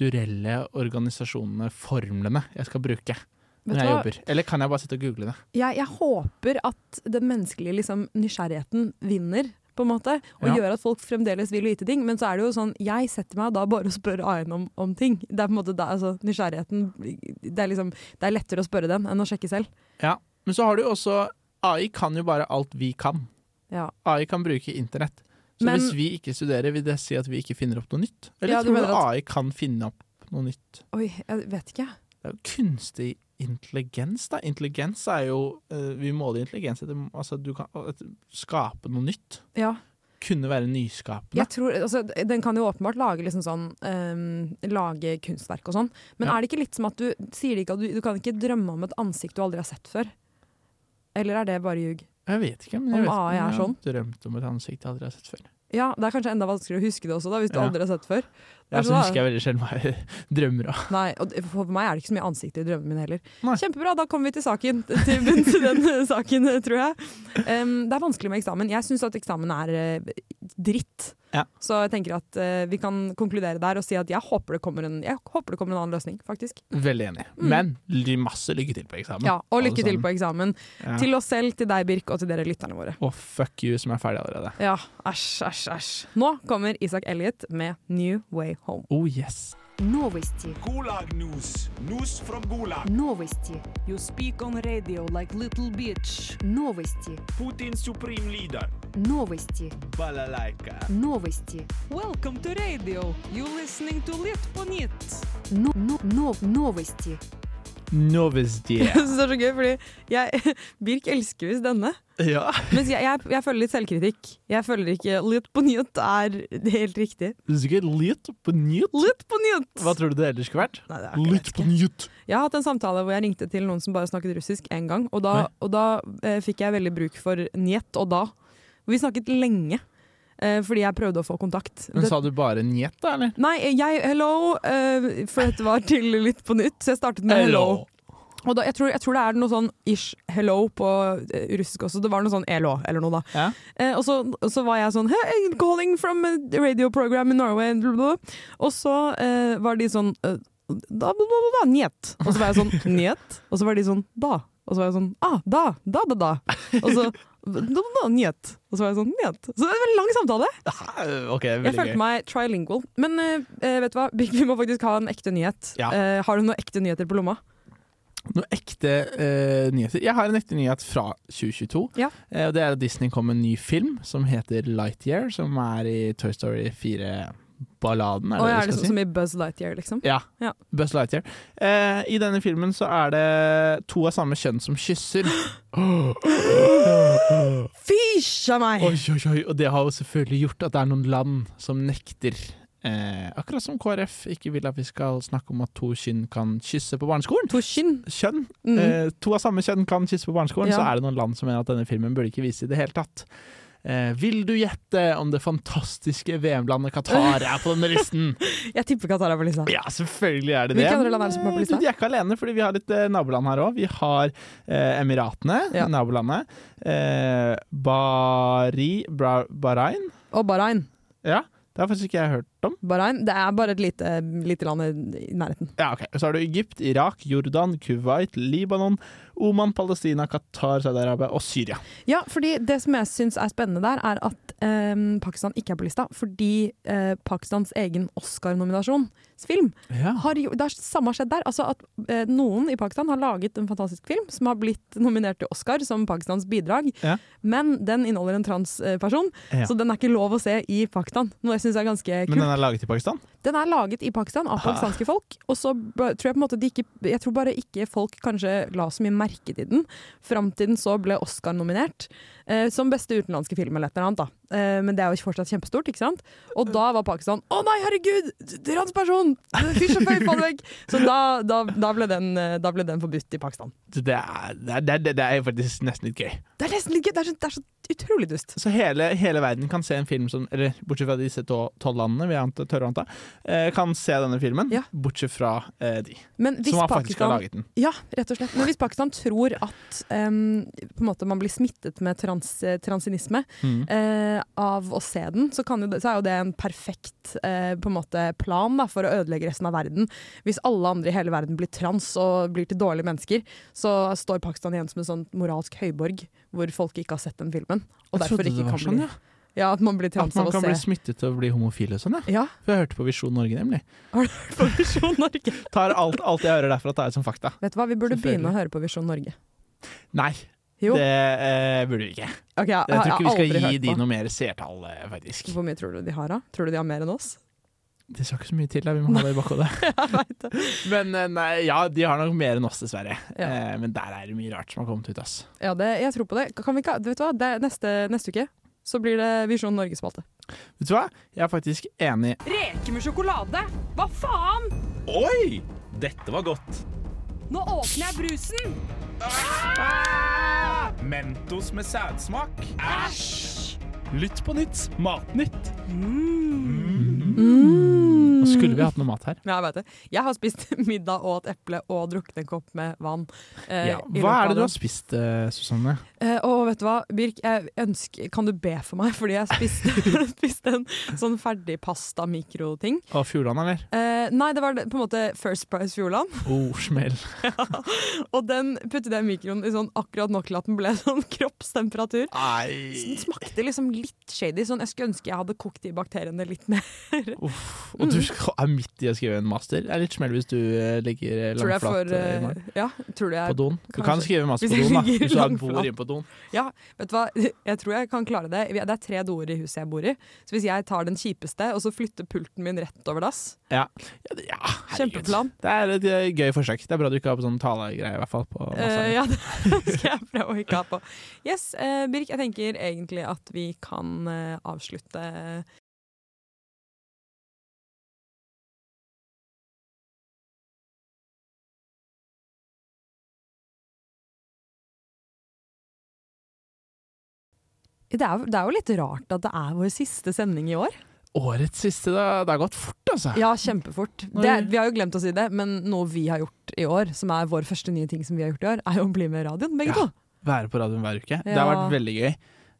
Speaker 2: strukturelle organisasjonene, formlene, jeg skal bruke
Speaker 5: Vet
Speaker 2: når jeg
Speaker 5: du hva?
Speaker 2: jobber? Eller kan jeg bare sitte og google det?
Speaker 5: Jeg, jeg håper at den menneskelige liksom, nysgjerrigheten vinner, på en måte, og
Speaker 2: Ja.
Speaker 5: gjør at folk fremdeles vil vite ting. Men så er det jo sånn, jeg setter meg da bare og spør AI-en om, om ting. Det er på en måte da, altså, nysgjerrigheten det er, liksom, det er lettere å spørre den enn å sjekke selv.
Speaker 2: Ja. Men så har du jo også AI kan jo bare alt vi kan.
Speaker 5: Ja.
Speaker 2: AI kan bruke internett. Så
Speaker 5: Men-
Speaker 2: hvis vi ikke studerer, vil det si at vi ikke finner opp noe nytt? Eller
Speaker 5: Ja, du
Speaker 2: tror du
Speaker 5: mener at-
Speaker 2: AI kan finne opp noe nytt?
Speaker 5: Oi, jeg vet ikke.
Speaker 2: Det er jo kunstig intelligens, da. Intelligens er jo eh, Vi måler intelligens etter altså, du kan at- skape noe nytt.
Speaker 5: Ja.
Speaker 2: Kunne være nyskapende.
Speaker 5: Jeg tror, altså, den kan jo åpenbart lage, liksom sånn, ehm, lage kunstverk og sånn, men
Speaker 2: Ja.
Speaker 5: er det ikke litt som at du sier det ikke at du, du kan ikke drømme om et ansikt du aldri har sett før? Eller er det bare ljug?
Speaker 2: Jeg vet ikke, men jeg
Speaker 5: Om
Speaker 2: vet ikke
Speaker 5: AI er
Speaker 2: jeg har
Speaker 5: sånn.
Speaker 2: drømt om et ansikt jeg aldri har sett før.
Speaker 5: Ja, Det er kanskje enda vanskeligere å huske det også, da, hvis du
Speaker 2: Ja.
Speaker 5: aldri har sett før.
Speaker 2: Ja,
Speaker 5: er
Speaker 2: så
Speaker 5: sånn,
Speaker 2: husker jeg veldig sjelden hva jeg drømmer om.
Speaker 5: Nei, og det- For meg er det ikke så mye ansikter i drømmene mine heller.
Speaker 2: Nei.
Speaker 5: Kjempebra, da kommer vi til saken. Til bunns i den eh, saken, eh, tror jeg. Ehm, det er vanskelig med eksamen. Jeg syns at eksamen er eh, dritt.
Speaker 2: Ja.
Speaker 5: Så jeg tenker at eh, vi kan konkludere der og si at jeg håper det kommer en, jeg håper det kommer en annen løsning, faktisk.
Speaker 2: Veldig enig. Men ly- masse lykke til på eksamen.
Speaker 5: Mm. Ja, og
Speaker 2: alle
Speaker 5: lykke til
Speaker 2: sammen.
Speaker 5: på eksamen.
Speaker 2: Ja.
Speaker 5: Til oss selv, til deg, Birk, og til dere lytterne våre.
Speaker 2: Og fuck you som er ferdig allerede.
Speaker 5: Ja, æsj, æsj, æsj. Nå kommer Isak Elliot med New Way Home.
Speaker 2: Oh yes.
Speaker 10: Новости.
Speaker 3: Gulag-nos. Nos from Gulag.
Speaker 10: Новости.
Speaker 8: You speak on radio like little bitch.
Speaker 10: Новости.
Speaker 3: Putins supreme leader.
Speaker 10: Новости.
Speaker 3: Balalaika.
Speaker 10: Новости.
Speaker 8: Welcome to radio. You listening to Litt på nytt.
Speaker 10: Но, но, но, новости.
Speaker 2: Novice dear.
Speaker 5: Jeg synes det er så gøy, fordi jeg, Birk elsker visst denne.
Speaker 2: ja.
Speaker 5: Mens jeg, jeg, jeg føler litt selvkritikk. Jeg føler ikke Lytt på nytt er helt riktig.
Speaker 2: Sikkert lytt på nytt.
Speaker 5: Lytt på nytt!
Speaker 2: Hva tror du det ellers skulle vært?
Speaker 5: Nei, det er ikke-
Speaker 2: Lytt på nytt.
Speaker 5: Jeg har hatt en samtale hvor jeg ringte til noen som bare snakket russisk én gang, og da,
Speaker 2: Oi.
Speaker 5: og da eh, fikk jeg veldig bruk for njet og da. Vi snakket lenge eh, fordi jeg prøvde å få kontakt.
Speaker 2: Men
Speaker 5: Det-
Speaker 2: sa du bare njet, da, eller?
Speaker 5: Nei, jeg hello, eh, for dette var til Lytt på nytt, så jeg startet med hello. Og da, jeg, tror, jeg tror det er noe sånn ish hello på eh, russisk også. Det var noe sånn elo eller noe, da.
Speaker 2: Ja.
Speaker 5: Eh, og, så, og så var jeg sånn hey, calling from a radio program in Norway. blah, blah, blah. Og så eh, var de sånn eh, da, da, da, da, njet. Og så var jeg sånn njet. Og så var de sånn da. Og så var jeg sånn ah, da, da, da, da. Og så da, da, da, njet. Og så var jeg sånn njet. Så det var en veldig lang samtale.
Speaker 2: Ah, Ok,
Speaker 5: Jeg
Speaker 2: veldig
Speaker 5: følte
Speaker 2: gøy.
Speaker 5: meg trilingual. Men eh, vet du hva, Birk, vi må faktisk ha en ekte nyhet.
Speaker 2: Ja.
Speaker 5: Eh, har du noen ekte nyheter på lomma?
Speaker 2: Noen ekte eh, nyheter. Jeg har en ekte nyhet fra 2022.
Speaker 5: Ja.
Speaker 2: Eh, og det er at Disney kom med en ny film som heter Lightyear, som er i Toy Story 4-balladen, er
Speaker 5: Og jeg er
Speaker 2: det det vi skal
Speaker 5: liksom
Speaker 2: si?
Speaker 5: som i Buzz Lightyear, liksom.
Speaker 2: Ja.
Speaker 5: Ja.
Speaker 2: Buzz Lightyear. Eh, I denne filmen så er det to av samme kjønn som kysser.
Speaker 5: Fysj av meg!
Speaker 2: Oi, oi, oi. Og det har jo selvfølgelig gjort at det er noen land som nekter. Eh, akkurat som KrF ikke vil at vi skal snakke om at to kynn kan kysse på barneskolen.
Speaker 5: To skinn.
Speaker 2: Kjønn.
Speaker 5: Mm.
Speaker 2: Eh, to av samme kjønn kan kysse på barneskolen,
Speaker 5: Ja.
Speaker 2: så er det noen land som mener at denne filmen burde ikke vise i det hele tatt. Eh, vil du gjette om det fantastiske VM-landet Qatar er på denne listen?
Speaker 5: Jeg tipper Qatar er på lista.
Speaker 2: Ja, selvfølgelig er det det.
Speaker 5: Hvilke andre land er det som er på
Speaker 2: Men,
Speaker 5: lista?
Speaker 2: De er ikke alene, fordi vi har litt eh, naboland her òg. Vi har eh, Emiratene,
Speaker 5: Ja.
Speaker 2: nabolandet. Eh, Bari, Bra, Bahrain.
Speaker 5: Og Bahrain.
Speaker 2: Ja, det har faktisk ikke jeg hørt om.
Speaker 5: Bahrain. Det er bare et lite, lite land i- i nærheten.
Speaker 2: Ja, ok. Så har du Egypt, Irak, Jordan, Kuwait, Libanon, Oman, Palestina, Qatar, Saudi-Arabia og Syria.
Speaker 5: Ja, fordi det som jeg syns er spennende der, er at eh, Pakistan ikke er på lista. Fordi eh, Pakistans egen Oscar-nominasjonsfilm har jo, Det er samme skjedd der. Altså at eh, Noen i Pakistan har laget en fantastisk film som har blitt nominert til Oscar som Pakistans bidrag,
Speaker 2: Ja.
Speaker 5: men den inneholder en transperson,
Speaker 2: Ja.
Speaker 5: så den er ikke lov å se i Pakistan. Noe jeg syns er ganske kult.
Speaker 2: Men den er laget i Pakistan?
Speaker 5: Den er laget i Pakistan
Speaker 2: Ah.
Speaker 5: av pakistanske folk. Og så b- tror jeg på en måte de ikke Jeg tror bare ikke folk kanskje la så mye merke til den. Fram til den så ble Oscar nominert eh, som beste utenlandske film eller et eller annet. da eh, Men det er jo fortsatt kjempestort, ikke sant? Og da var Pakistan Å nei, herregud! Transperson! Fysjeføy, få det vekk! Så da, da, da, ble den, eh, da ble den forbudt i Pakistan.
Speaker 2: Det er, det, er, det, er, det er faktisk nesten litt gøy.
Speaker 5: Det er nesten litt gøy. Det er så, det er så utrolig dust.
Speaker 2: Så hele, hele verden kan se en film som Eller bortsett fra disse to- tolv landene, vi anta, tør å anta, eh, kan se denne filmen.
Speaker 5: Ja.
Speaker 2: Bortsett fra eh, de,
Speaker 5: Men hvis
Speaker 2: som har faktisk har
Speaker 5: Pakistan
Speaker 2: laget den.
Speaker 5: Ja, rett og slett. Men hvis Pakistan tror at em, på en måte man blir smittet med trans, eh, transinisme
Speaker 2: Mhm.
Speaker 5: eh, av å se den, så, kan jo det, så er jo det en perfekt eh, på en måte plan da, for å ødelegge resten av verden. Hvis alle andre i hele verden blir trans og blir til dårlige mennesker, så står Pakistan igjen som en sånn moralsk høyborg hvor folk ikke har sett den filmen. Og
Speaker 2: Jeg trodde
Speaker 5: derfor
Speaker 2: det
Speaker 5: ikke
Speaker 2: var
Speaker 5: kan
Speaker 2: sånn,
Speaker 5: bli
Speaker 2: ja.
Speaker 5: Ja, at man blir
Speaker 2: At
Speaker 5: trans
Speaker 2: man
Speaker 5: av å
Speaker 2: kan bli
Speaker 5: se.
Speaker 2: smittet og bli homofil og sånn, ja.
Speaker 5: Ja,
Speaker 2: For jeg hørte på Visjon Norge, nemlig.
Speaker 5: har du hørt på Visjon Norge?
Speaker 2: Tar alt, alt jeg hører derfra, tar jeg som fakta.
Speaker 5: Vet du hva, vi burde begynne
Speaker 2: Selvfølgelig.
Speaker 5: å høre på Visjon Norge.
Speaker 2: Nei,
Speaker 5: Jo,
Speaker 2: det eh, burde vi ikke.
Speaker 5: ok, jeg,
Speaker 2: Jeg
Speaker 5: jeg
Speaker 2: tror
Speaker 5: har
Speaker 2: ikke vi
Speaker 5: aldri
Speaker 2: skal gi
Speaker 5: hørt
Speaker 2: de
Speaker 5: på.
Speaker 2: noe mer seertall, eh, faktisk.
Speaker 5: Hvor mye tror du de har, da? Tror du de har mer enn oss?
Speaker 2: Det skal ikke så mye til, da. vi må ha det i bakhodet. Men eh, nei, ja, de har nok mer enn oss, dessverre.
Speaker 5: Ja.
Speaker 2: Eh, Men der er det mye rart som har kommet ut, ass.
Speaker 5: Ja, det, jeg tror på det. Kan vi ikke, vet du hva? Det, er neste, neste uke så blir det Visjon Norge-spalte.
Speaker 2: Vet du hva? Jeg er faktisk enig.
Speaker 8: Reker med sjokolade? Hva faen?
Speaker 3: Oi! Dette var godt.
Speaker 8: Nå åpner jeg brusen!
Speaker 3: Ah! Mentos med sædsmak. Æsj! Lytt på nytt. Matnytt.
Speaker 2: Nå skulle vi hatt noe mat her.
Speaker 5: Ja, jeg vet det. Jeg har spist middag og et eple og drukket en kopp med vann. eh,
Speaker 2: Ja.
Speaker 5: i løpet
Speaker 2: Hva
Speaker 5: av
Speaker 2: er det du
Speaker 5: den.
Speaker 2: har spist, eh, Susanne?
Speaker 5: Eh, og vet du hva, Birk, jeg ønsker, kan du be for meg? Fordi jeg spiste, spiste en sånn ferdig pasta-mikroting.
Speaker 2: Av Fjordland, eller?
Speaker 5: Eh, nei, det var det- på en måte First Price Fjordland.
Speaker 2: Oh, smell.
Speaker 5: Og den puttet jeg i mikroen i sånn akkurat nok til at den ble sånn kroppstemperatur. Den
Speaker 2: Nei.
Speaker 5: smakte liksom litt shady. Sånn, jeg skulle ønske jeg hadde kokt de bakteriene litt mer.
Speaker 2: Uff. Og du skal, er midt i å skrive en master. Det er litt smell hvis du eh, ligger eh,
Speaker 5: Tror du jeg
Speaker 2: langflat
Speaker 5: får
Speaker 2: eh, i
Speaker 5: eh,
Speaker 2: morgen.
Speaker 5: Ja, tror du jeg
Speaker 2: På doen. Du kan
Speaker 5: kanskje.
Speaker 2: skrive master
Speaker 5: Hvis
Speaker 2: på
Speaker 5: jeg
Speaker 2: doen, da.
Speaker 5: ligger
Speaker 2: Hvis du har
Speaker 5: langflat.
Speaker 2: bord inne på doen.
Speaker 5: Vet du hva, jeg tror jeg kan klare det. Vi- Det er tre doer i huset jeg bor i. Så hvis jeg tar den kjipeste, og så flytter pulten min rett over dass
Speaker 2: Ja, det- ja, herregud.
Speaker 5: Kjempeplan.
Speaker 2: Det er et eh, gøy forsøk. Det er bra du ikke har på sånn talegreie, i hvert fall. På
Speaker 5: Eh,
Speaker 2: massasje.
Speaker 5: ja, det skal jeg prøve å ikke ha på. Yes, eh, Birk, jeg tenker egentlig at vi kan eh, avslutte Det er, jo- det er jo litt rart at det er vår siste sending i år.
Speaker 2: Årets siste, da. Det har gått fort, altså.
Speaker 5: Ja, kjempefort. Det,
Speaker 2: Når-
Speaker 5: vi har jo glemt å si det, men noe vi har gjort i år, som er vår første nye ting som vi har gjort i år, er jo å bli med i radioen, begge
Speaker 2: Ja.
Speaker 5: to.
Speaker 2: være på radioen hver uke. Det
Speaker 5: Ja.
Speaker 2: har vært veldig gøy.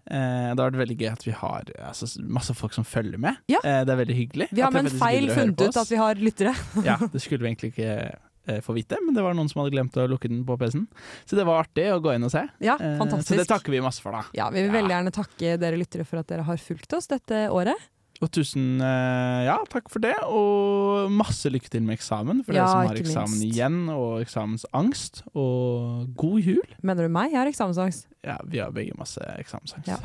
Speaker 2: Eh, det har vært veldig gøy at vi har altså, masse folk som følger med.
Speaker 5: Ja.
Speaker 2: Eh, det er veldig hyggelig.
Speaker 5: Vi har
Speaker 2: at dere
Speaker 5: med en
Speaker 2: faktisk
Speaker 5: feil
Speaker 2: gidder å høre
Speaker 5: funnet
Speaker 2: på
Speaker 5: ut
Speaker 2: oss.
Speaker 5: at vi har lyttere.
Speaker 2: Ja, det skulle vi egentlig ikke eh, få vite, men det var noen som hadde glemt å lukke den på PC-en. Så det var artig å gå inn og se.
Speaker 5: Ja,
Speaker 2: Eh,
Speaker 5: fantastisk.
Speaker 2: så det takker vi masse for, da.
Speaker 5: Ja, Vi vil
Speaker 2: Ja.
Speaker 5: veldig gjerne takke dere lyttere for at dere har fulgt oss dette året.
Speaker 2: Og tusen eh, ja, takk for det, og masse lykke til med eksamen for
Speaker 5: Ja,
Speaker 2: dere som har
Speaker 5: ikke
Speaker 2: eksamen
Speaker 5: minst.
Speaker 2: igjen, og eksamensangst. Og god jul.
Speaker 5: Mener du meg? Jeg har eksamensangst.
Speaker 2: Ja, vi har begge masse eksamensangst.
Speaker 5: Ja.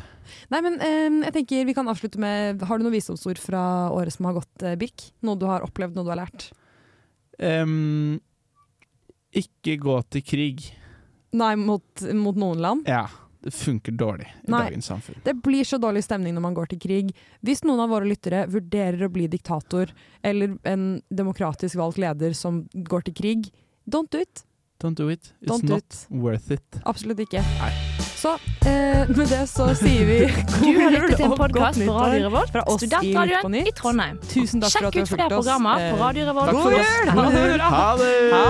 Speaker 5: Nei, men eh, jeg tenker vi kan avslutte med Har du noen visdomsord fra året som har gått, eh, Birk? Noe du har opplevd, noe du har lært?
Speaker 2: Em, ikke gå til krig.
Speaker 5: Nei, mot, mot noen land.
Speaker 2: Ja, det funker dårlig i
Speaker 5: Nei.
Speaker 2: dagens samfunn.
Speaker 5: Det blir så dårlig stemning når man går til krig. Hvis noen av våre lyttere vurderer å bli diktator eller en demokratisk valgt leder som går til krig, don't do it.
Speaker 2: Don't do it. It's
Speaker 5: Don't do
Speaker 2: not
Speaker 5: it.
Speaker 2: worth it.
Speaker 5: Absolutt ikke.
Speaker 2: Nei.
Speaker 5: Så eh, med det så sier vi
Speaker 1: Du har lyttet til
Speaker 5: og
Speaker 1: en
Speaker 5: godt
Speaker 1: podkast på
Speaker 5: nyttår
Speaker 1: Radio Revolt,
Speaker 5: fra oss i Nytt på
Speaker 1: studentradioen
Speaker 5: Nytt.
Speaker 1: i Trondheim.
Speaker 5: Tusen takk for
Speaker 1: Sjekk
Speaker 5: at du
Speaker 1: ut
Speaker 5: har
Speaker 1: flere øh,
Speaker 5: fulgt oss.
Speaker 1: programmer
Speaker 5: Eh,
Speaker 1: på Radio
Speaker 5: takk
Speaker 1: Revolt.
Speaker 5: for oss. Ha det bra.
Speaker 2: Ha det!